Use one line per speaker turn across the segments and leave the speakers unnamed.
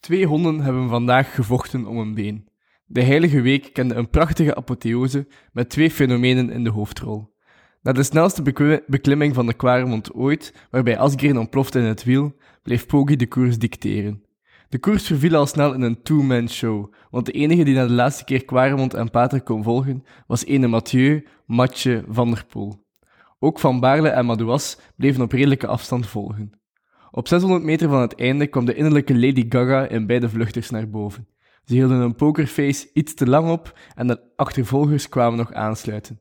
Twee honden hebben vandaag gevochten om een been. De Heilige Week kende een prachtige apotheose met twee fenomenen in de hoofdrol. Na de snelste bekwe- beklimming van de Kwaremond ooit, waarbij Asgreen ontplofte in het wiel, bleef Poggi de koers dicteren. De koers verviel al snel in een two-man show, want de enige die na de laatste keer Kwaremond en Pater kon volgen, was ene Mathieu Matje van der Poel. Ook Van Baarle en Madouas bleven op redelijke afstand volgen. Op 600 meter van het einde kwam de innerlijke Lady Gaga in beide vluchters naar boven. Ze hielden hun pokerface iets te lang op en de achtervolgers kwamen nog aansluiten.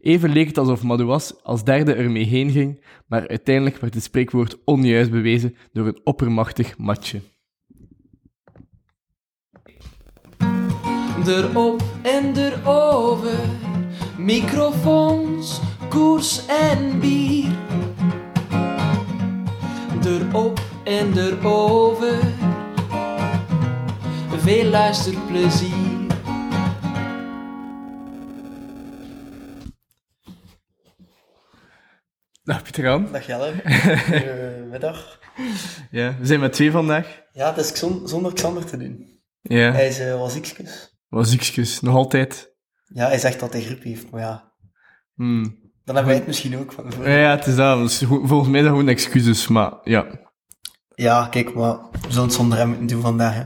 Even leek het alsof Madouas als derde ermee heen ging, maar uiteindelijk werd het spreekwoord onjuist bewezen door een oppermachtig matje.
Erop en erover, microfoons, koers en bier. Erop en erover, veel luisterplezier.
Dag Nou, Pieter Jan.
Dag Jelle, goedemiddag.
Ja, we zijn met twee vandaag.
Ja, het is Xon- zonder Xander te doen.
Ja,
Hij is eh, wel ziekjes.
was ziekjes, nog altijd.
Ja, hij zegt dat hij griep heeft, maar ja,
Hmm.
dan hebben wij het misschien ook van
Ja, ja, het is dat. Dus go- volgens mij zijn gewoon excuses, maar ja.
Ja, kijk, maar we zullen het zonder hem moeten doen vandaag. Hè.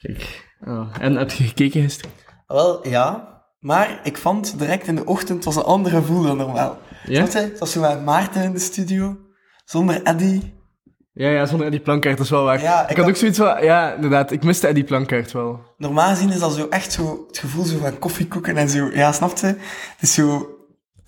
Kijk. Ah, En heb je gekeken gisteren?
Ah, Wel, ja, maar ik vond direct in de ochtend was een andere gevoel dan normaal.
Ja?
Snap je? Het was zo met Maarten in de studio, zonder Eddy.
Ja, ja, zonder die plankaart, dat is wel waar.
Ja,
ik, had
ik had-
ook zoiets van, ja, inderdaad, ik miste die plankaart wel.
Normaal gezien is dat zo echt zo het gevoel zo van koffiekoeken en zo. Ja, snap je? Het is zo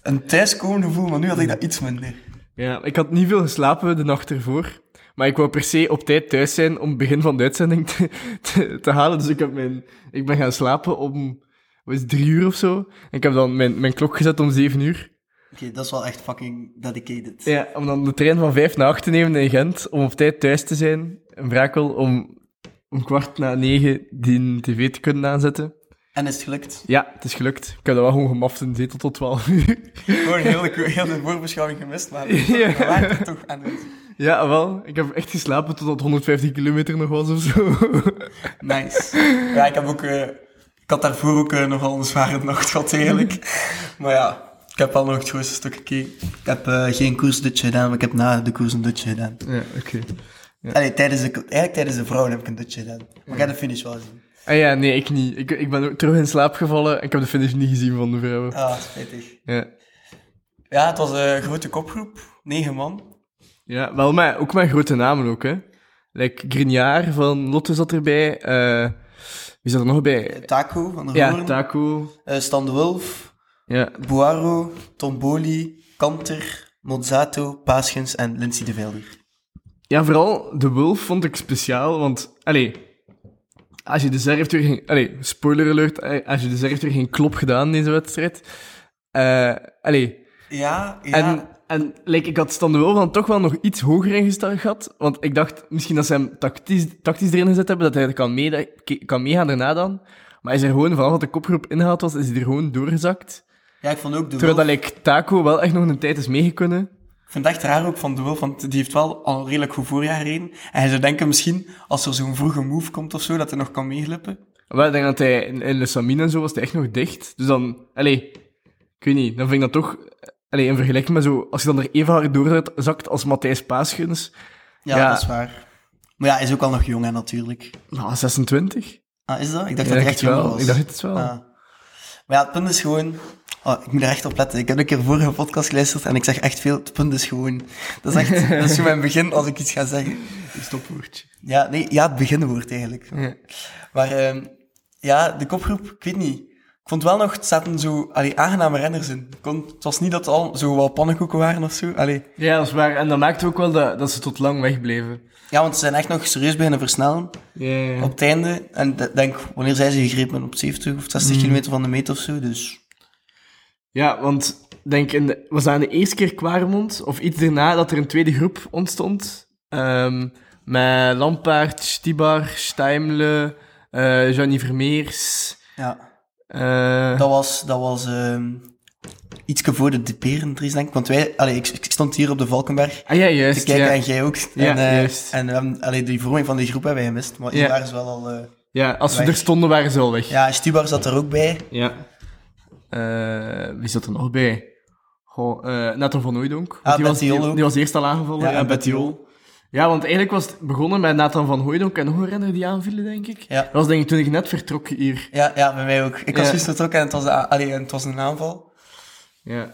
een thuiskomen gevoel, maar nu had ik dat iets minder.
Ja, ik had niet veel geslapen de nacht ervoor. Maar ik wou per se op tijd thuis zijn om het begin van de uitzending te, te, te halen. Dus ik, heb mijn, ik ben gaan slapen om wat is het, drie uur of zo. En ik heb dan mijn, mijn klok gezet om zeven uur.
Oké, dat is wel echt fucking dedicated.
Ja, om dan de trein van vijf naar acht te nemen in Gent. Om op tijd thuis te zijn. In Brakel om, om kwart na negen die tv te kunnen aanzetten.
En is het gelukt?
Ja, het is gelukt. Ik heb dat wel gewoon gemaft in de zetel tot twaalf uur.
Gewoon heel de, heel de voorbeschouwing gemist, maar
Ja.
we waren er toch eh, aan het.
Ja, wel. Ik heb echt geslapen totdat 150 kilometer nog was of zo.
Nice. Ja, ik heb ook... eh, ik had daarvoor ook eh, nogal een zware nacht gehad, eigenlijk. Maar ja, ik heb al nog het grootste stuk gekeken. Ik heb eh, geen koersdutje gedaan, maar ik heb na de koers een dutje gedaan.
Ja, oké.
Allee, tijdens de, ko- eigenlijk tijdens de vrouwen heb ik een dutje gedaan. Maar ik heb de finish wel gezien.
Ah ja, nee, ik niet. Ik, ik ben ook terug in slaap gevallen en ik heb de finish niet gezien van de vrouwen.
Ah, spijtig.
Ja,
Ja, het was een grote kopgroep. Negen man.
ja wel, maar ook mijn grote namen ook, hè. Like Grignard van Lotte zat erbij. eh, wie zat er nog bij?
Taco van der
Ja,
Hoorn.
Taco.
eh, Stan de Wulf.
Ja,
Boaro, Tomboli, Kanter, Mozzato, Paaschens en Lindsay de Velder.
Ja, vooral de Wolf vond ik speciaal, want... Allee, als je de Zer heeft weer geen... Allee, spoiler alert. eh, Als je de Zer heeft weer geen klop gedaan in deze wedstrijd. Eh allee,
Ja, ja.
en... En like, ik had Stan de Wolf dan toch wel nog iets hoger ingesteld gehad. Want ik dacht misschien dat ze hem tactisch, tactisch erin gezet hebben, dat hij er kan, mee, kan meegaan daarna dan. Maar hij is er gewoon, vanaf dat de kopgroep ingehaald was, is hij er gewoon doorgezakt.
ja, ik vond ook de Wolf.
Terwijl dat like, Taco wel echt nog een tijd is meegekonnen.
Ik vind het echt raar ook van de Wolf, want die heeft wel al een redelijk goed voorjaar gereden. En je zou denken misschien, als er zo'n vroege move komt of zo, dat hij nog kan meeglippen.
Wel, ik denk dat hij in, in Le Samine en zo was hij echt nog dicht. Dus dan, allee, ik weet niet, dan vind ik dat toch, allee, in vergelijking met zo, als je dan er even hard doorzakt als Matthijs Paasgens,
Ja,
Ja.
dat is waar. Maar ja, hij is ook al nog jong, hè, natuurlijk.
nou, 26.
Ah, is dat? Ik dacht
Ja,
dat
ik
hij
het
echt jong
wel.
was.
Ik dacht het wel.
Ah. Maar ja, het punt is gewoon... Oh, ik moet er echt op letten. Ik heb een keer vorige podcast geluisterd en ik zeg echt veel. Het punt is gewoon... Dat is echt... dat is zo mijn begin als ik iets ga zeggen.
Stopwoordje.
Ja, nee, ja, het beginwoord eigenlijk.
Ja.
Maar ehm, ja, de kopgroep, ik weet niet. Ik vond wel nog, het zaten zo allee, aangename renners in. Ik kon- het was niet dat het al zo wel pannenkoeken waren of zo. Allee.
ja, dat is waar. En dat maakte ook wel dat, dat ze tot lang wegbleven.
Ja, want ze zijn echt nog serieus beginnen versnellen
Ja, ja, ja.
op het einde. En ik denk, wanneer zijn ze gegrepen? Op 70 of
Mm.
60 kilometer van de meet of zo. Dus
ja want denk in de, was dat aan de eerste keer Kwaremond, of iets daarna, dat er een tweede groep ontstond? Ehm, met Lampaard, Stibar, Steimle, eh Johnny Vermeers...
ja,
eh,
dat was, dat was ehm, iets voor de Perendries, denk ik. Want wij, allee, ik, ik stond hier op de Valkenberg
Ah ja,
te
juist.
kijken
Ja.
en jij ook.
Ja,
en eh,
juist.
en we hebben, allee, die vorming van die groep hebben wij gemist. Maar
Ja.
Ibar is wel al... eh,
ja, als we
Weg.
er stonden, waren ze al weg.
ja, Stubar zat er ook bij.
Ja. Eh, wie zat er nog bij? Goh, eh, Nathan van Hooijdonk. want
Ah,
die, was,
Betty Jol
die,
ook.
die was eerst al aangevallen.
Ja,
Ja,
en Betty
Betty Jol. Ja, want eigenlijk was het begonnen met Nathan van Hooijdonk en nog een renner die aanvielen, denk ik.
Ja.
Dat was denk ik toen ik net vertrok hier.
Ja, ja, bij mij ook. Ik was
Ja.
gisteren ook en het was, de a- allee, en het was een aanval.
Ja.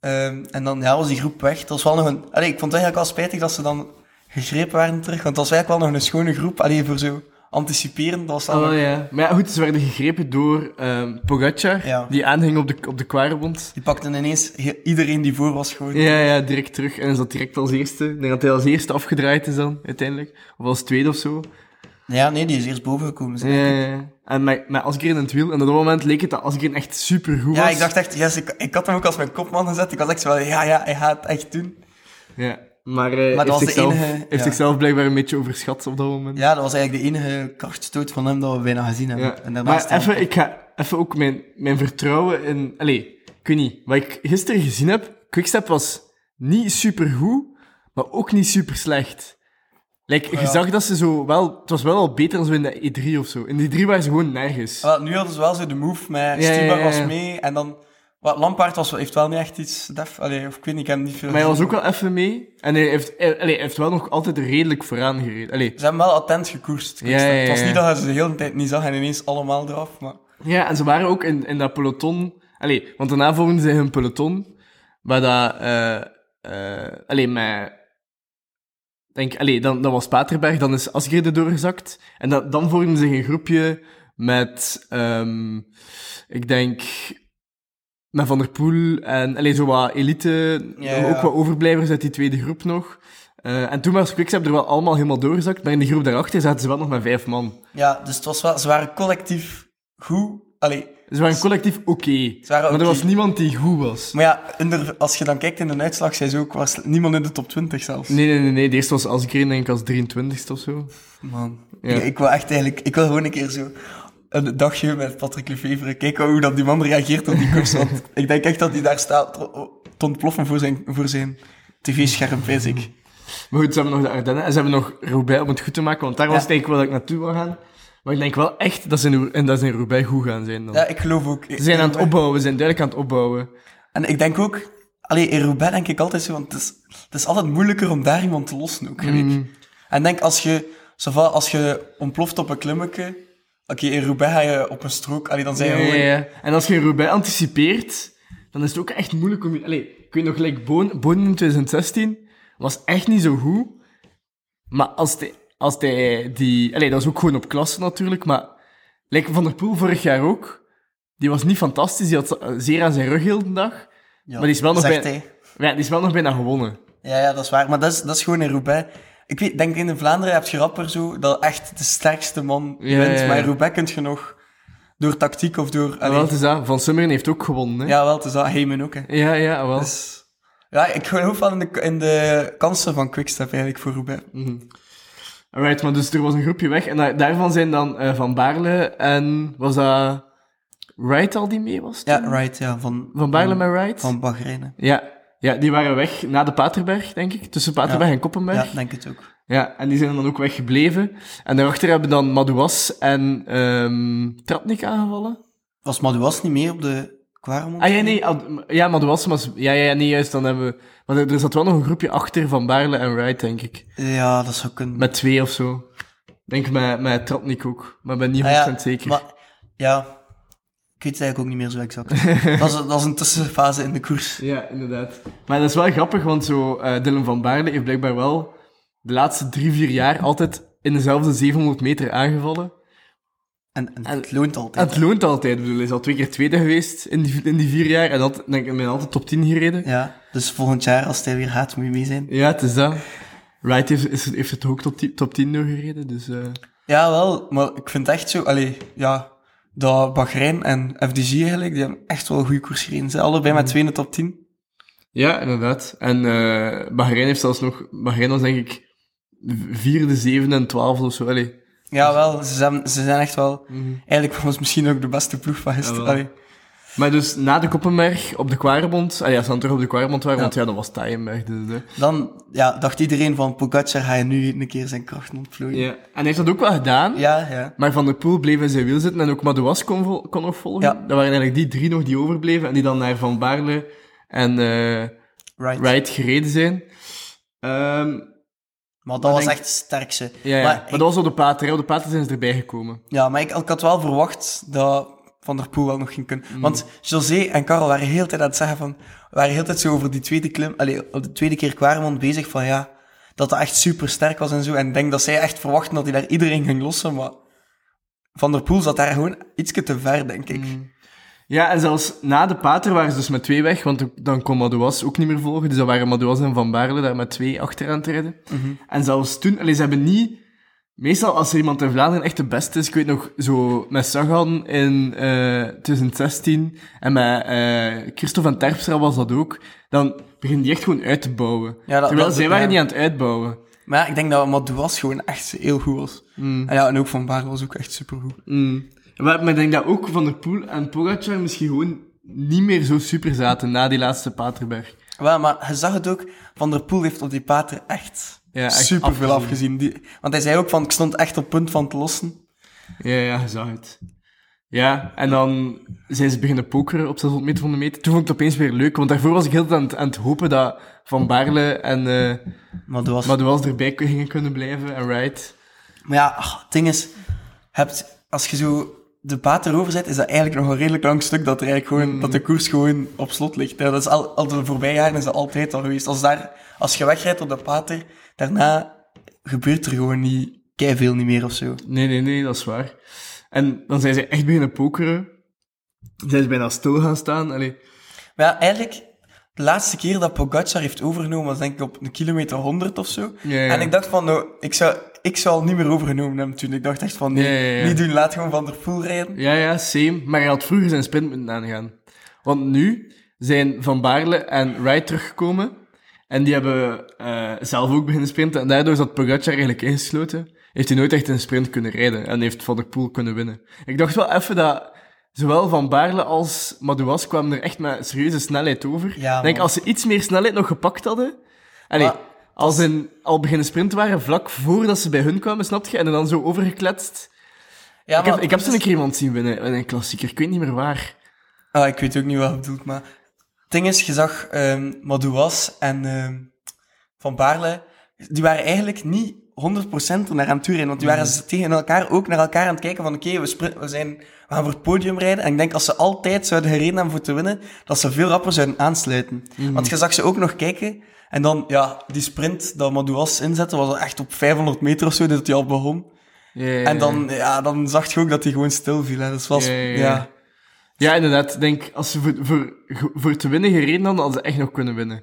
Ehm, en dan ja, was die groep weg. Het was wel nog een, allee, ik vond het eigenlijk wel spijtig dat ze dan gegrepen waren terug. Want het was eigenlijk wel nog een schone groep. Allee, voor zo anticiperen. Dat was wel
Ah, wel,
nog-
ja. Maar ja, goed, ze werden gegrepen door ehm Pogacar,
Ja.
die aanhing op de, op de kwarebond.
Die pakten ineens he- iedereen die voor was gewoon.
Ja, ja, direct terug. En is dat direct als eerste. Ik denk dat hij als eerste afgedraaid is dan, uiteindelijk. Of als tweede of zo.
Ja, nee, die is eerst boven gekomen. zeg.
Ja, ja, ja. En met, met Asgreen in het wiel. En op dat moment leek het dat Asgreen echt supergoed
Ja,
was.
ik dacht echt, yes, ik, ik had hem ook als mijn kopman gezet. Ik was echt zo van, ja, ja, hij gaat het echt doen.
Ja, maar, eh
dat
heeft,
was de
zichzelf,
enige-
heeft
ja.
zichzelf blijkbaar een beetje overschat op dat moment.
Ja, dat was eigenlijk de enige kartstoot van hem dat we bijna gezien hebben.
Ja.
En daarna
Maar even, ik ga even ook mijn, mijn vertrouwen in... Allee, ik weet niet. Wat ik gisteren gezien heb, Quickstep was niet supergoed, maar ook niet super slecht. Like, je
ja.
zag dat ze zo wel... Het was wel al beter dan zo in de E3 of zo. In de E3 waren ze gewoon nergens.
Wel, nu hadden ze wel zo de move met
Ja,
Stubar
ja, ja, ja.
was mee en dan... Wat, Lampaard was, heeft wel niet echt iets def. Allee, of ik weet niet, ik heb hem niet veel
Maar hij was
gezien.
ook wel even mee. En hij heeft, eh, allee, hij heeft wel nog altijd redelijk vooraan gereden. Allee,
Ze hebben wel attent gekoerst.
Ja, ja, ja.
Het was niet dat hij ze de hele tijd niet zag en ineens allemaal eraf. Maar...
Ja, en ze waren ook in, in dat peloton. Allee, want daarna volgden ze hun peloton. Waar dat. eh eh allee, met. Denk, allee, dan, dan was Paterberg, dan is Asgrede doorgezakt. En dan dan vormden zich een groepje met. ehm ik denk. Met Van der Poel en. Allee, zo wat elite.
Ja, ja.
Ook wat overblijvers uit die tweede groep nog. Eh, en toen was Quickstep er wel allemaal helemaal doorgezakt. Maar in de groep daarachter zaten ze wel nog met vijf man.
Ja, dus het was wel, ze waren collectief goed. Allee,
Ze waren collectief oké.
waren
Maar er
oké.
was niemand die goed was.
maar ja, in de- als je dan kijkt in de uitslag, zijn ze ook was niemand in de top 20 zelfs.
Nee, nee, nee, nee. De eerste was als Green, denk ik, als 23ste of zo.
Man,
Ja.
ik, ik wil echt eigenlijk, ik wil gewoon een keer zo een dagje met Patrick Lefevre kijken hoe dat die man reageert op die koers. Want ik denk echt dat hij daar staat te te ontploffen voor zijn, voor zijn tv-scherm, weet ik.
Maar goed, ze hebben nog de Ardennen en ze hebben nog Roubaix om het goed te maken, want daar was
Ja.
het eigenlijk wel dat ik naartoe wil gaan. Maar ik denk wel echt dat ze in, en dat ze in Roubaix goed gaan zijn dan.
Ja, ik geloof ook.
Ze zijn aan het opbouwen, ze zijn duidelijk aan het opbouwen.
En ik denk ook, allee, in Roubaix denk ik altijd zo, want het is, het is altijd moeilijker om daar iemand te lossen ook, vind ik.
Mm.
En denk, als je, zo va- als je ontploft op een klimmetje, oké, in Roubaix ga je op een strook, allee, dan zijn
Ja,
je gewoon...
ja, ja. En als je in Roubaix anticipeert, dan is het ook echt moeilijk om... je- Allee, ik weet nog, like Boon, Boon in 2016 was echt niet zo goed. Maar als hij... Als die, die, allee, dat was ook gewoon op klasse natuurlijk, maar... Like Van der Poel vorig jaar ook. Die was niet fantastisch, die had eh, zeer aan zijn rug heel de dag.
Ja,
Maar die is wel nog
zegt
bij-
hij.
Maar ja, die is wel nog bijna gewonnen.
Ja, ja, dat is waar. Maar dat is, dat is gewoon in Roubaix. Ik weet, denk in de Vlaanderen heb je rapper zo dat echt de sterkste man
Ja,
wint.
ja, ja.
Maar in Roubaix kun je nog door tactiek of door...
En
allee,
wel, het is dat. Van Summeren heeft ook gewonnen, hè?
ja, wel, het is dat. Heyman ook, hè.
ja, ja wel.
Dus, ja, ik geloof wel in de, in de kansen van Quickstep eigenlijk voor Roubaix.
Alright, maar dus er was een groepje weg. En da- daarvan zijn dan eh, Van Baarle en was dat Wright al die mee was?
Ja,
toen?
right, ja. Van,
Mm. Van Baarle met Wright?
Mm. Van Bahrein.
Ja. ja, die waren weg na de Paterberg, denk ik. Tussen Paterberg en
Ja,
Koppenberg. Ja,
denk het ook.
en die zijn dan ook weggebleven. En daarachter hebben dan Madouas en ehm Tratnik aangevallen.
Was Madouas niet mee op de Quaremont?
Ah ja, nee, ah, m- ja, Madouas was... Ja, ja, ja, nee, juist, dan hebben we... Maar er, er zat wel nog een groepje achter Van Baarle en Wright, denk ik.
Ja, dat zou kunnen.
Met twee of zo. Denk met, met Tratnik ook, maar ik ben niet 100%
Ah ja,
zeker.
Maar, ja, ik weet het eigenlijk ook niet meer zo exact. dat, is, dat is een tussenfase in de koers.
Ja, inderdaad. Maar dat is wel grappig, want zo, eh, Dylan van Baarle heeft blijkbaar wel de laatste drie, vier jaar altijd in dezelfde 700 meter aangevallen.
En, en
En-
het loont altijd.
En het loont altijd. Ik bedoel, hij is al twee keer tweede geweest in die, in die vier jaar. En dat, denk ik, ben altijd top 10 gereden. Ja,
Ja, dus volgend jaar als hij weer gaat, moet je mee zijn.
het is dat. Wright heeft, is, heeft het ook top 10, top 10 doorgereden, dus... eh,
Ja, wel, maar ik vind echt zo, allee, ja, dat Bahrein en FDG eigenlijk, die hebben echt wel een goede koers gereden. Ze allebei met twee in de top 10.
Ja, inderdaad. En eh Bahrein heeft zelfs nog... Bahrein was denk ik vierde, zevende en twaalfde of zo. Allee.
Mhm. Ja, wel, ze zijn, ze zijn echt wel, eigenlijk was het misschien ook de beste ploeg van gisteren.
Jawel.
allee.
Maar dus na de Koppenberg op de Kwarebond, ah ja, als we dan terug op de Kwarebond waren, want ja, dan was Taienberg. Dus, hè.
Dan ja, dacht iedereen van Pogacar ga je nu een keer zijn krachten ontvloeien.
Ja. En hij heeft dat ook wel gedaan,
Ja, ja.
maar Van der Poel bleef in zijn wiel zitten en ook Madouas kon, vol- kon nog volgen.
Ja.
Dat waren eigenlijk die drie nog die overbleven en die dan naar Van Baarle en eh
Right.
Wright gereden zijn. Ehm,
Maar dat
Maar
was
denk-
echt het sterkste.
ja, ja.
Maar
Maar,
ik-
dat was op de pater, hè. op de pater zijn ze erbij gekomen.
Ja, maar ik, ik had wel verwacht dat Van der Poel wel nog ging kunnen. Want José en Karel waren heel de tijd aan het zeggen van... waren heel de tijd zo over die tweede klim... Allee, op de tweede keer Quaremont bezig van ja... Dat dat echt super sterk was en zo. En ik denk dat zij echt verwachten dat hij daar iedereen ging lossen, maar... Van der Poel zat daar gewoon ietsje te ver, denk ik.
Ja, en zelfs na de pater waren ze dus met twee weg, want dan kon Madouas ook niet meer volgen. Dus dan waren Madouas en Van Baarle daar met twee achteraan te rijden.
Mhm.
En zelfs toen, allee, ze hebben niet... Meestal als er iemand in Vlaanderen echt de beste is, ik weet nog, zo met Sagan in eh 2016 en met eh Christophe en Terpstra was dat ook, dan begint die echt gewoon uit te bouwen.
Ja, dat-
Terwijl
dat-
zij waren
ja.
niet aan het uitbouwen.
Maar ja, ik denk dat Madouas gewoon echt heel goed was. En ja, en ook Van Baarle was ook echt supergoed.
Mm. Maar maar ik denk dat ook Van der Poel en Pogacar misschien gewoon niet meer zo super zaten na die laatste Paterberg.
Wel, maar je zag het ook, Van der Poel heeft op die pater echt
Ja, echt
super veel
afgezien.
afgezien. Die, want hij zei ook van, ik stond echt op punt van te lossen.
Ja, ja, je zag het. Ja, en dan zijn ze beginnen pokeren op 600 meter van de meter. Toen vond ik het opeens weer leuk, want daarvoor was ik heel de tijd aan, het- aan het hopen dat Van Baarle en eh
Maar dat was... Maar,
Madouas erbij k- gingen kunnen blijven en Wright.
ja, ach, het ding is, hebt, als je zo de pater overzet, is dat eigenlijk nog een redelijk lang stuk dat, er eigenlijk gewoon, dat de koers gewoon op slot ligt. Ja, dat is al, al de voorbije jaren is dat altijd al geweest. Als, daar, als je wegrijdt op de pater, daarna gebeurt er gewoon niet veel niet meer of zo.
Nee, nee, nee, dat is waar. En dan zijn ze echt beginnen pokeren. Zijn ze bijna stil gaan staan. Allee.
Maar ja, eigenlijk, de laatste keer dat Pogacar heeft overgenomen was denk ik op een kilometer 100 of zo.
Ja, ja.
En ik dacht van, nou, ik zou, ik zou al niet meer overgenomen hebben toen. Ik dacht echt van, nee,
Ja, ja, ja.
niet doen, laat gewoon Van der Poel rijden.
Ja, ja, same. Maar hij had vroeger zijn sprint moeten aangaan. Want nu zijn Van Baarle en Wright teruggekomen. En die hebben eh, zelf ook beginnen sprinten. En daardoor zat Pogacar eigenlijk ingesloten. Heeft hij nooit echt een sprint kunnen rijden. En heeft Van der Poel kunnen winnen. Ik dacht wel even dat zowel Van Baarle als Madouas kwamen er echt met serieuze snelheid over.
Ja,
Ik denk,
man.
als ze iets meer snelheid nog gepakt hadden... Allee,
Maar
als ze al beginnen sprinten waren, vlak voordat ze bij hun kwamen, snap je? En dan zo overgekletst.
Ja, dus
Ik heb, ik heb ze een keer iemand zien winnen in een klassieker. Ik weet niet meer waar.
Ah, ik weet ook niet wat je bedoelt, maar... Het ding is, je zag ehm Madouas en ehm, Van Baarle, die waren eigenlijk niet 100% er naar aan toe rijden, want die waren ze tegen elkaar ook naar elkaar aan het kijken van oké, we, sprin- we, zijn- we gaan voor het podium rijden. En ik denk als ze altijd zouden gereden hebben voor te winnen, dat ze veel rapper zouden aansluiten.
Mm.
Want je zag ze ook nog kijken en dan, ja, die sprint dat Madouas inzette was echt op 500 meter of zo, dat hij al begon. En dan, ja, dan zag je ook dat hij gewoon stil viel. Hè. Dus was,
Ja, ja, ja.
ja.
Ja, inderdaad. Ik denk, als ze voor, voor, voor te winnen gereden hadden, hadden ze echt nog kunnen winnen.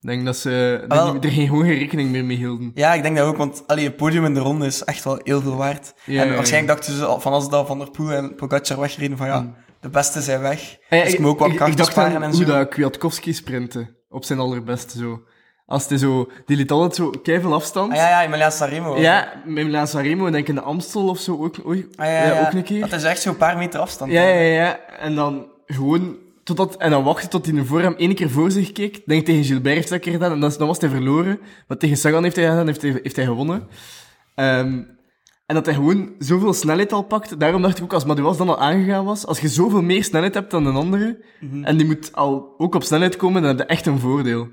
Ik denk dat ze dat
Wel-
die- er geen, gewoon geen rekening meer mee hielden.
Ja, ik denk dat ook, want allee, het podium in de ronde is echt wel heel veel waard.
Ja, ja,
en
ja.
waarschijnlijk dachten ze al van als dat Van der Poel en Pogacar wegreden van ja, de beste zijn weg.
Mm. Ah ja,
dus ik moet ook wat
ik
krachten
dacht
sparen
aan
en
hoe
zo.
dat Kwiatkowski sprintte. Op zijn allerbeste, zo. Als hij zo... Die liet altijd zo keiveel afstand.
Ah ja, ja, Emilia Sanremo. was het.
Ja, met Milan Sanremo, denk ik in de Amstel of zo ook, ook,
Ah, ja,
ja,
ja.
ook een keer.
Dat is echt zo'n paar meter afstand.
Ja,
hè.
ja, ja. En dan gewoon... Totdat, en dan wachten tot hij voor hem één keer voor zich keek. Ik Denk tegen Gilbert heeft dat een keer gedaan. En dan, is- dan was hij verloren. Maar tegen Sagan heeft hij gedaan, heeft hij, heeft hij gewonnen. Ehm, en dat hij gewoon zoveel snelheid al pakt. Daarom dacht ik ook, als Madouas dan al aangegaan was... Als je zoveel meer snelheid hebt dan een andere... En die moet al ook op snelheid komen, dan heb je echt een voordeel.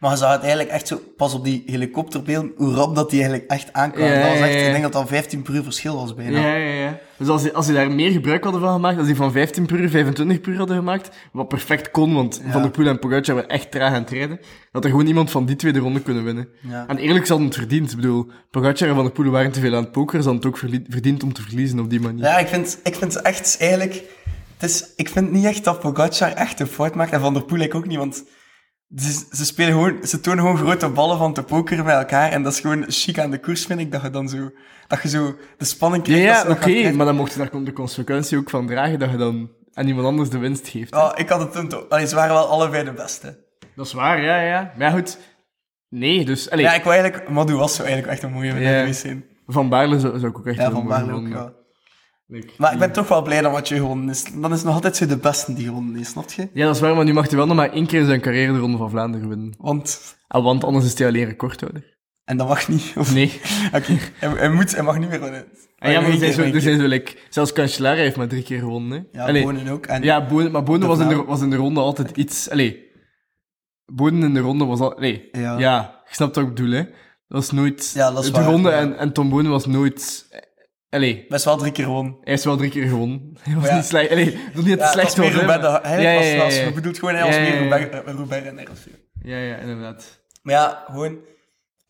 Maar je zag het eigenlijk echt zo, pas op die helikopterbeelden, hoe rap dat die eigenlijk echt aankwam.
Ja,
dat was
ja,
echt,
ja.
ik denk dat dat 15 per uur verschil was bijna.
Ja, ja, ja. Dus als die, als die daar meer gebruik hadden van gemaakt, als die van 15 per uur 25 per uur hadden gemaakt, wat perfect kon, want Van der Poel en Pogacar waren echt traag aan het rijden, dat er gewoon iemand van die tweede ronde kunnen winnen.
Ja.
En eerlijk, ze hadden het verdiend. Ik bedoel, Pogacar en Van der Poel waren te veel aan het pokeren, ze hadden het ook verli- verdiend om te verliezen op die manier.
Ja, ik vind, ik vind echt eigenlijk. Het is, ik vind niet echt dat Pogacar echt een fout maakt. En Van der Poel eigenlijk ook niet, want ze, ze spelen gewoon, ze tonen gewoon grote ballen van te pokeren met elkaar. En dat is gewoon chic aan de koers, vind ik. Dat je dan zo, dat je zo de spanning
Ja,
krijgt. dat
ja,
ze
oké,
nog gaan krijgen.
maar dan mocht je daar de consequentie ook van dragen dat je dan aan iemand anders de winst geeft.
Ja, Ah, ik had het toen toch. Allee, ze waren wel allebei de beste.
Oh. Dat is waar, ja, ja. Maar ja, goed. Nee, dus... Allee,
Ja, ik wou eigenlijk. Madou was zo eigenlijk echt een mooie winnaar
Ja.
geweest zijn.
Van Baarle zou, zou ik ook echt
Ja,
wel
van
mooi
Baarle ook
gevonden
wel.
Leuk.
Maar ik ben toch wel blij dat wat je gewonnen is. Dan is het nog altijd zo de beste die gewonnen is, snap je?
Ja, dat is waar, maar nu mag hij wel nog maar één keer in zijn carrière de Ronde van Vlaanderen winnen.
Want...
Ah, want anders is hij alleen recordhouder.
En dat mag niet. Of...
Nee.
Oké, hij, hij moet, hij mag niet meer winnen.
En Ah, ja, maar er
Eén
zijn
keer,
zo,
één
er
keer.
zijn zo like, zelfs Cancellara heeft maar drie keer gewonnen. Hè.
Ja,
Allee,
Bonen ook. En
Ja, Bonen, maar Bonen was in, de,
Vlaam.
was in de ronde altijd iets... Allee, Bonen in de ronde was al... Nee, ja.
Ja.
je snapt wat ik bedoel, hè. Dat was nooit...
Ja, dat is
de
waar,
ronde
ja.
en, en Tom Bonen was nooit... Allee,
best wel drie keer gewonnen.
hij is wel drie keer gewonnen. Hij was
Maar ja.
niet slecht. Allee, ik bedoel niet dat
Ja,
hij
het was
slecht was,
meer
hè,
Robert de-
maar-
Hij
ja,
was,
ja,
was-
ja,
we
ja.
bedoelt gewoon, hij was
Ja, ja,
meer
ja, ja.
Robert, Robert en RFC.
Ja, ja, inderdaad.
Maar ja, gewoon...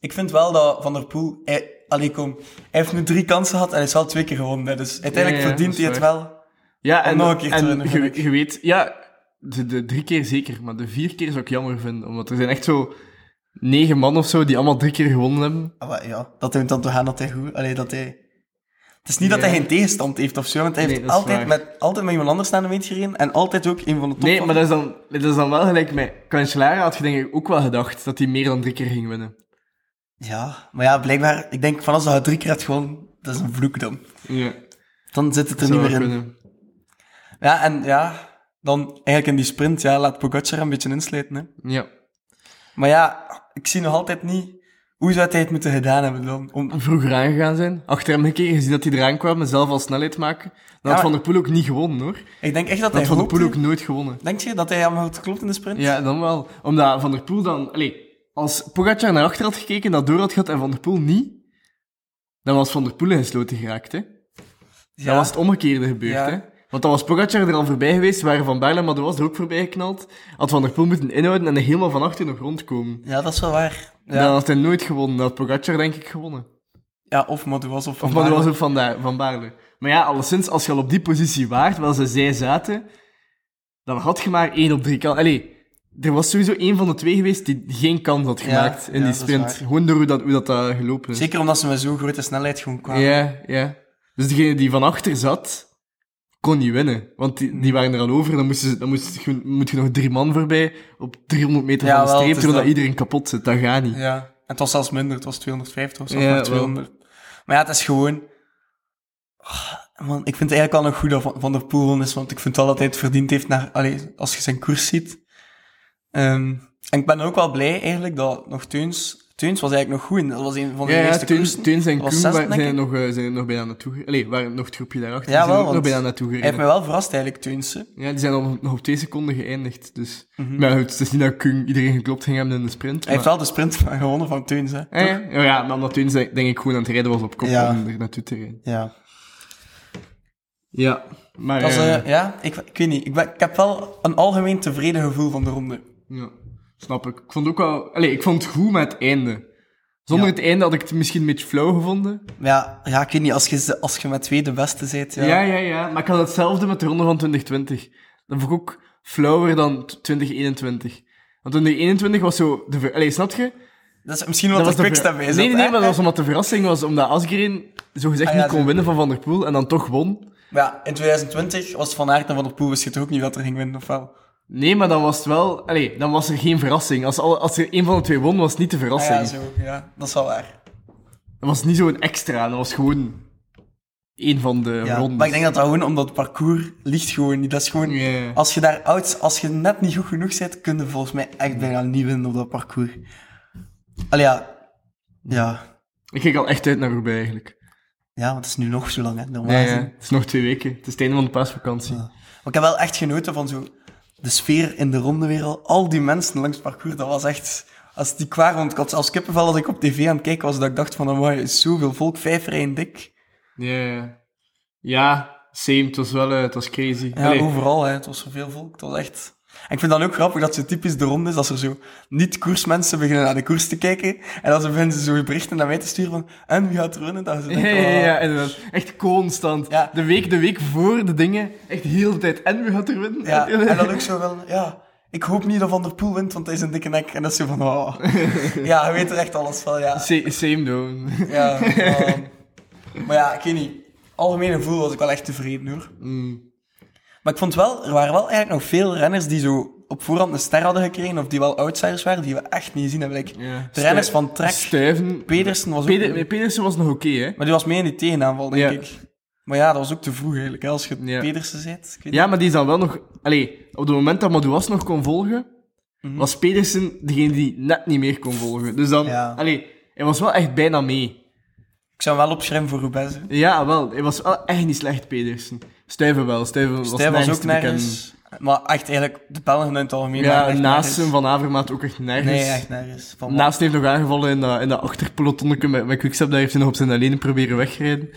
Ik vind wel dat Van der Poel... Hij, allee, kom. Hij heeft nu drie kansen gehad en hij is wel twee keer gewonnen. hè. Dus uiteindelijk
Ja, ja,
verdient
dat is
hij het wel.
Ja, en,
nog een keer te
en
winnen,
je-
vind ik.
je weet, ja, de, de drie keer zeker, maar de vier keer zou ik jammer vinden, omdat er zijn echt zo negen man of zo die allemaal drie keer gewonnen hebben.
Ah, Maar ja, dat toont dan toch aan dat hij goed... Allee, dat hij... Het is niet dat
Ja.
hij geen tegenstand heeft of zo, want hij
Nee,
heeft
dat is
altijd
waar.
met, altijd met iemand anders naar de wind gereden en altijd ook een van de top.
Nee, maar dat is, dan, dat is dan wel gelijk met Cancellara had je denk ik ook wel gedacht dat hij meer dan drie keer ging winnen.
Ja, maar ja, blijkbaar... Ik denk, van als hij drie keer had gewonnen, dat is een vloek dan.
Ja,
Dan zit het er
zou
niet meer in.
kunnen.
Ja, en ja, dan eigenlijk in die sprint, ja, laat Pogacar een beetje insluiten. Hè.
Ja.
Maar ja, ik zie nog altijd niet hoe zou hij het moeten gedaan hebben dan. Om...
Vroeger aangegaan zijn, achter hem gekeken, gezien dat hij eraan kwam en zelf al snelheid maken. Dan had
maar-
Van der Poel ook niet gewonnen hoor. Dan
Ik denk echt dat hij
had Van der Poel
hoopte...
ook nooit gewonnen.
Denk je dat hij hem had geklopt in de sprint?
Ja, dan wel. Omdat Van der Poel dan... Allee, als Pogacar naar achter had gekeken, dat door had gehad en Van der Poel niet, dan was Van der Poel ingesloten geraakt, hè.
Ja.
Dan was het omgekeerde gebeurd,
Ja.
hè. Want dan was Pogacar er al voorbij geweest, waren Van Baarle maar de was er ook voorbij geknald. Had Van der Poel moeten inhouden en er helemaal van achter nog rondkomen.
Ja, dat is wel waar. Ja,
Dan had hij nooit gewonnen. Dan had Pogacar denk ik gewonnen.
ja of Madouas of...
Of maar dat was ook van, daar, van Baarle. Maar ja, alleszins, als je al op die positie waart, waar ze zij zaten, dan had je maar één op drie kans. Allee, er was sowieso één van de twee geweest die geen kans had gemaakt in
ja,
die
dat is
sprint.
waar.
Gewoon door hoe dat, hoe dat eh, gelopen is.
Zeker omdat ze met zo'n grote snelheid gewoon kwamen.
Ja, ja. Dus degene die van achter zat, kon niet winnen. Want die,
Hmm.
die waren er al over. Dan, moesten ze, dan moest, je, moet je nog drie man voorbij op 300 meter
Ja,
van de
wel,
streep,
het is
terwijl dat
dat.
iedereen kapot zit. Dat gaat niet.
Ja. En het was zelfs minder, het was 250 of zo,
Ja,
maar
wel.
200. Maar ja, het is gewoon... Ah, Man, ik vind het eigenlijk wel nog goed dat Van- Van der Poel won is, want ik vind wel dat hij het verdiend heeft naar, allee, als je zijn koers ziet. Ehm, en ik ben ook wel blij eigenlijk dat nog Teuns... Teuns was eigenlijk nog goed in, dat was een van de
Ja, ja,
eerste
Teuns,
koersen.
Teuns en
Dat
Koen
was zesde,
waren- zijn,
denk
er
ik.
nog, eh, zijn er nog bijna naartoe gereden. Allee, waren nog het groepje daarachter.
Ja,
die zijn er
wel,
ook nog
want
bijna naartoe
Hij heeft
gereden.
mij wel verrast eigenlijk, Teuns. hè.
Ja, die zijn al nog op twee seconden geëindigd. Dus. Maar goed, het is niet dat Kung iedereen geklopt ging hebben in de sprint.
Mhm. Hij heeft
maar...
wel de sprint van- gewonnen van Teuns, hè.
Ah, ja. Oh ja, maar omdat Teuns denk ik gewoon aan het rijden was op kop
Ja.
om er naartoe te rijden.
Ja.
Ja, maar...
Dat is,
eh,
eh, ja, ik, ik weet niet. Ik, ben- ik heb wel een algemeen tevreden gevoel van de ronde.
Ja, snap ik. Ik vond ook wel... Allee, ik vond het goed met het einde. Zonder het einde had ik het misschien een beetje flauw gevonden.
Maar Ja, ja ik weet niet, als je, ze- als je met twee de beste bent, ja.
Ja. ja, ja, Maar ik had hetzelfde met de ronde van 2020. Dat vond ik ook flauwer dan t- 2021. Want 2021 was zo... De ver... Allee, snap je?
Dat is misschien wat
was
de
de
quickstep
ver-
bij is.
Nee, nee, nee,
hè?
maar dat was omdat de verrassing was. Omdat Asgreen zogezegd
Ah, ja,
niet kon
zo.
winnen van Van der Poel en dan toch won.
Maar ja, in 2020 was Van Aert en Van der Poel wist je toch ook niet dat er ging winnen, of wel?
Nee, maar dan was het wel... Allee, dan was er geen verrassing. Als, alle- als er een van de twee won, was het niet de
Ah,
verrassing.
ja, zo, ja. Dat is wel waar.
Dat was niet zo'n extra. Dat was gewoon... Een van de
Ja.
rondes.
Maar ik denk dat dat gewoon omdat het parcours ligt gewoon niet. Dat is gewoon...
Ja.
Als je daar oud... Als je net niet goed genoeg bent, kun je volgens mij echt bijna niet winnen op dat parcours. Allee, ja... Ja...
Ik kijk al echt uit naar voorbij eigenlijk.
Ja, want het is nu nog zo lang, hè. Normaal
Nee,
gezien.
Het is nog twee weken. Het is het einde van de paasvakantie.
Ja. Maar ik heb wel echt genoten van zo de sfeer in de ronde weer al. Al die mensen langs het parcours, dat was echt... Als die kwamen, want ik had zelfs kippenvel als ik op tv aan het kijken was, dat ik dacht van, amai, is zoveel volk, vijf rijen dik.
Ja, ja. ja same. Het was wel eh, het was crazy.
Ja,
Allee,
overal, hè. Het was zoveel volk, het was echt... En ik vind dan ook grappig dat zo typisch de ronde is, als er zo niet-koersmensen beginnen naar de koers te kijken, en dan ze beginnen ze zo berichten naar mij te sturen van, en wie gaat er winnen? Dat ze
ja,
denken,
ja, ja,
"Ah."
ja, inderdaad. Echt constant.
Ja.
De, week, de week voor de dingen, echt heel de tijd. En wie gaat er winnen?
Ja, en dan ook zo wel, ja, ik hoop niet dat Van der Poel wint, want hij is een dikke nek. En dat is zo van, oh. Ja, je weet er echt alles van, ja.
Sa- Same doen.
Ja, ehm, maar ja, ik weet niet. Algemeen gevoel was ik wel echt tevreden hoor.
Mm.
Maar ik vond wel, er waren wel eigenlijk nog veel renners die zo op voorhand een ster hadden gekregen, of die wel outsiders waren, die we echt niet gezien hebben. Like,
Ja.
De renners van Trek,
Stuiven.
Pedersen was ook...
Peder- Pedersen was nog oké, hè?
maar die was mee in die tegenaanval, denk
Ja.
ik. Maar ja, dat was ook te vroeg eigenlijk, hè, als je
Ja.
Pedersen zit. Ik weet
Ja, maar die is dan wel nog... Allee, op het moment dat Madouas nog kon volgen,
Mhm.
was Pedersen degene die net niet meer kon volgen. Dus dan...
Ja.
Allee, hij was wel echt bijna mee.
niet. Ik zou hem wel opschrijven voor Rubens. hè.
Ja, wel. Hij was wel echt niet slecht, Pedersen. Stuiven wel. Stuiven was,
Stijn Dus was
nergens
ook
te bekennen.
nergens. Maar echt eigenlijk, de Belgen in het algemeen. waren
Ja,
echt
naast hem
nergens.
van Avermaat ook echt nergens.
Nee, echt nergens. Van
Naast heeft nog aangevallen in dat, in dat achterpelotonnetje met, met Quickstep. Daar heeft hij nog op zijn alleen proberen wegrijden.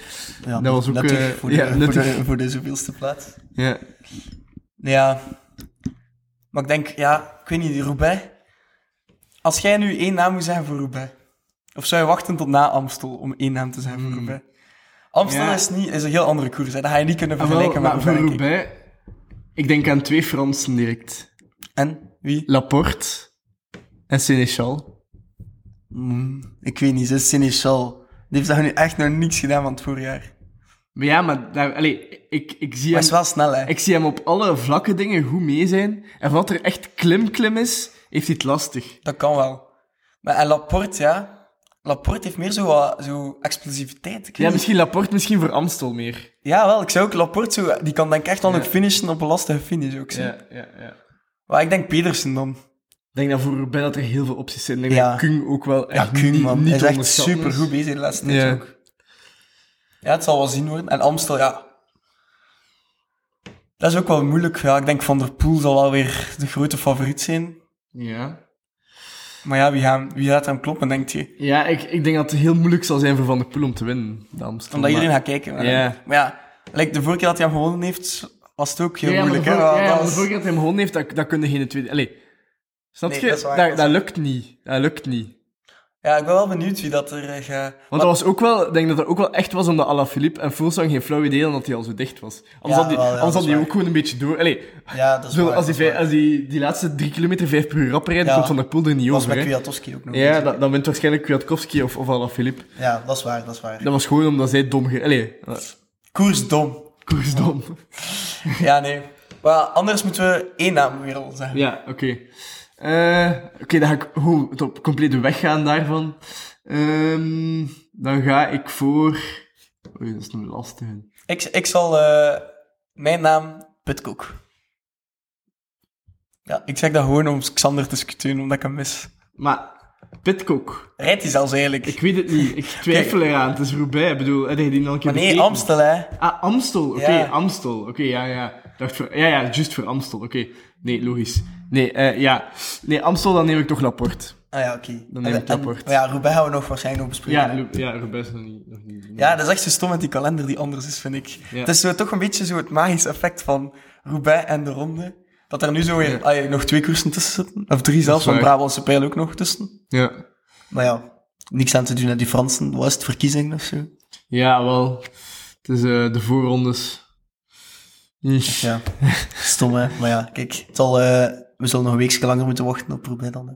ja,
dat was ook,
nuttig
eh,
voor, de,
ja,
voor,
nuttig.
de, voor de zoveelste plaats. Nou
Ja.
Ja. Maar ik denk, ja, ik weet niet, Roubaix. Als jij nu één naam moet zeggen voor Roubaix, of zou je wachten tot na Amstel om één naam te zeggen voor Roubaix? Amstel
Ja.
is, niet, is een heel andere koers, hè. dat ga je niet kunnen
Ah, wel,
vergelijken
maar
met
voor
Roubaix. denk ik.
Roubaix... Ik denk aan twee Fransen direct.
En? Wie?
Laporte en Seneschal.
Mm, ik weet niet, ze is Seneschal. Die heeft daar nu echt nog niks gedaan van het voorjaar.
Maar ja, maar daar, allee, ik, ik, zie
Maar
hem,
is wel snel, hè.
ik zie hem op alle vlakke dingen goed mee zijn. En wat er echt klim-klim is, heeft hij het lastig.
Dat kan wel. Maar en Laporte, ja. Laporte heeft meer zo, wat- zo explosiviteit. Ik weet
Ja,
niet.
misschien Laporte, misschien voor Amstel meer.
ja, wel, ik zou ook Laporte zo... Die kan denk ik echt wel
Ja.
nog finishen op een lastige finish ook. zo.
Ja, ja, ja.
Maar ik denk Pedersen dan.
Ik denk dat voor Roubaix dat er heel veel opties zijn. Ik denk
Ja.
dat Kung ook wel echt
Kuhn,
niet, niet
Hij is echt
onderschatten is.
super goed bezig de laatste tijd
Ja.
ook. Ja, het zal wel zien worden. En Amstel, ja. Dat is ook wel moeilijk. Ja, ik denk Van der Poel zal wel weer de grote favoriet zijn.
Ja,
Maar ja, wie, gaan, wie gaat hem kloppen, denkt je?
ja ik, ik denk dat het heel moeilijk zal zijn voor Van der Poel om te winnen. de Amstel.
Omdat iedereen
Maar-
gaat kijken. Maar
Ja.
maar ja like de vorige keer dat hij hem gewonnen heeft, was het ook heel
Ja, maar
moeilijk.
de
hè?
vorige-
Ja,
ja,
dat
maar de
was-
vorige keer dat hij hem gewonnen heeft, dat, dat kunnen geen tweede... Allee, snap
Nee,
je?
dat is waar,
dat,
dat
dat,
is
lukt niet. Dat lukt niet.
ja, ik ben wel benieuwd wie dat er eh, gaat...
Want dat was ook wel, ik denk dat dat ook wel echt was omdat Alaphilippe en Fulsang geen flauw idee hadden dat hij al zo dicht was. Anders
Ja,
had die,
wel, ja,
anders
dat
had
is
die
waar.
ook gewoon een beetje door. Allee,
Ja, dat is
zo,
waar,
als, die,
dat is
vij-
waar.
als die, die laatste drie kilometer vijf per uur rap rijdt,
Ja.
komt Van der Poel er niet
was
over. hè.
met Kwiatkowski ook nog.
Ja,
bezig.
dat, dan wint waarschijnlijk Kwiatkowski of, of Alaphilippe.
ja, dat is waar, dat is waar.
Dat was gewoon omdat zij dom... Ge... Allee, eh,
Koers dom.
koersdom.
Ja, nee. Maar anders moeten we één naam weer al zeggen.
Ja, oké. Eh, oké, dan ga ik oh, het op compleet weggaan daarvan. Ehm, dan ga ik voor... Oei, dat is een lastige.
Ik, ik zal eh, mijn naam Putkoek. Ja, ik zeg dat gewoon om Xander te scuteun, omdat ik hem mis.
Maar Pitcock...
Rijdt hij zelfs eigenlijk?
Ik weet het niet. Ik twijfel eraan. Het is Roubaix. Ik bedoel, heb je die nog een keer
maar nee,
bekeken?
Amstel, hè.
Ah, Amstel. Oké,
Ja.
Amstel. Oké, ja, ja. Ik Dacht voor, ja, ja, juist voor Amstel. Oké. Nee, logisch. Nee, eh, ja. Nee, Amstel, dan neem ik toch Laporte.
Ah ja, oké.
Dan neem
En-
ik rapport.
en- Maar ja, Roubaix gaan we nog waarschijnlijk nog bespreken.
Ja,
hè.
Lu- ja Roubaix is nog niet. Nog niet
ja, dat is echt zo stom met die kalender die anders is, vind ik. Het is zo, toch een beetje zo het magische effect van Roubaix en de ronde. Dat er nu zo weer
Ja.
ah, ja, nog twee koersen tussen zitten. Of drie zelfs, van
waar.
Brabantse pijl ook nog tussen.
Ja.
Maar ja, niks aan te doen aan die Fransen. Was het verkiezing of zo?
Ja, wel. Het is eh, de voorrondes. Ih.
Ja, stom hè. Maar ja, kijk, het zal, eh, we zullen nog een weekje langer moeten wachten op Roubaix dan. Hè.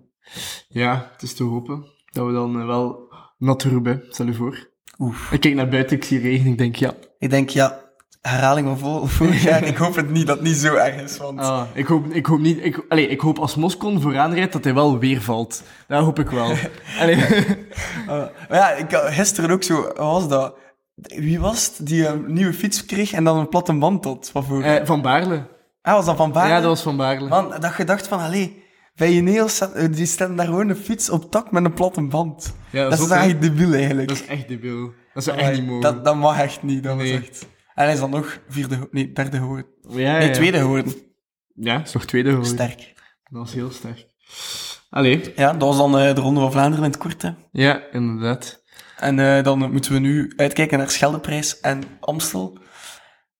Ja, het is te hopen dat we dan eh, wel nat Roubaix, stel je voor.
Oef.
Ik kijk naar buiten, ik zie regen, ik denk ja.
Ik denk, ja, herhaling van vol- vorig jaar, ik hoop het niet dat het niet zo erg is, want...
Ah, ik, hoop, ik hoop niet. Ik, allee, ik hoop als Moscon vooraan rijdt dat hij wel weer valt. Dat hoop ik wel. Allee,
Ah, maar ja, ik, had gisteren ook zo, wat was dat? Wie was het die een nieuwe fiets kreeg en dan een platte band had? Van voor?
eh, van Baarle.
ah, was dat Van Baarle?
Ja, dat was van Baarle.
Man, dat je dacht van, allee, bij Ineos, staat- eh, die stellen daar gewoon een fiets op tak met een platte band.
Ja,
dat,
dat
is
is ook, hè.
eigenlijk debiel eigenlijk.
Dat is echt debiel. Dat zou echt niet mogen.
dat, dat mag echt niet, dat
Nee.
was echt... En hij is dan nog vierde, ge- nee, derde geworden.
ja,
Nee,
ja.
tweede geworden.
Ja, is toch tweede geworden.
Sterk.
Dat was heel sterk. Allee,
Ja, dat was dan eh, de Ronde van Vlaanderen in het kort. Hè.
ja, inderdaad.
En eh, dan moeten we nu uitkijken naar Scheldeprijs en Amstel.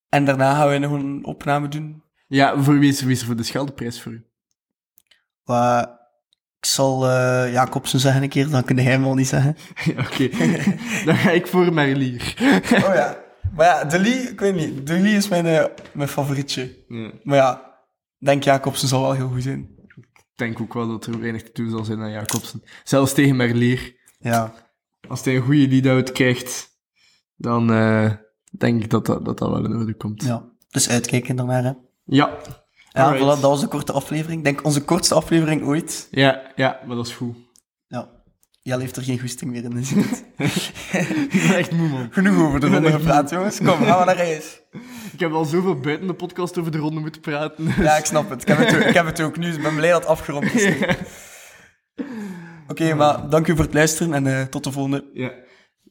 En daarna gaan we nog een opname doen.
Ja, voor wie is, wie is er voor de Scheldeprijs voor u?
Waar ik zal eh, Jacobsen zeggen een keer, dan kun jij hem wel niet zeggen.
Ja, oké. Dan ga ik voor Merlier.
Oh ja. Maar ja, De Lee, ik weet niet. De Lee is mijn, eh, mijn favorietje.
Ja,
Maar ja, ik denk Jacobsen zal wel heel goed zijn.
ik denk ook wel dat er weinig te doen zal zijn aan Jacobsen. Zelfs tegen Merlier.
Ja.
Als hij een goede lead-out krijgt, dan eh, denk ik dat dat, dat dat wel in orde komt.
ja. Dus uitkijken daarnaar. Hè.
Ja.
Ja, voilà,
Alright.
dat was de korte aflevering. Ik denk onze kortste aflevering ooit.
ja, ja, maar dat is goed.
Ja. Jelle heeft er geen goesting meer in. dus niet.
Ik ben echt moe, man.
Genoeg over de
Ik ben
ronde
echt
gepraat, jongens. Kom, gaan we naar reis.
Ik heb al zoveel buiten de podcast over de ronde moeten praten. dus-
Ja, ik snap het. Ik heb het, ook- ik heb het ook nu. dus Ik ben blij dat het afgerond is. Oké, maar dank u voor het luisteren en eh, tot de volgende.
Ja.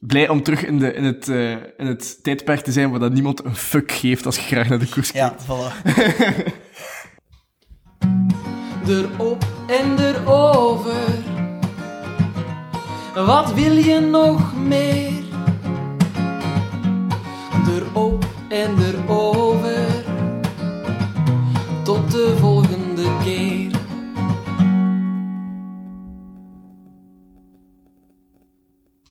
Blij om terug in, de, in, het, eh, in het tijdperk te zijn waar dat niemand een fuck geeft als je graag naar de koers kijkt.
Ja, voilà.
erop en erover. Wat wil je nog meer? Erop en erover. Tot de volgende keer.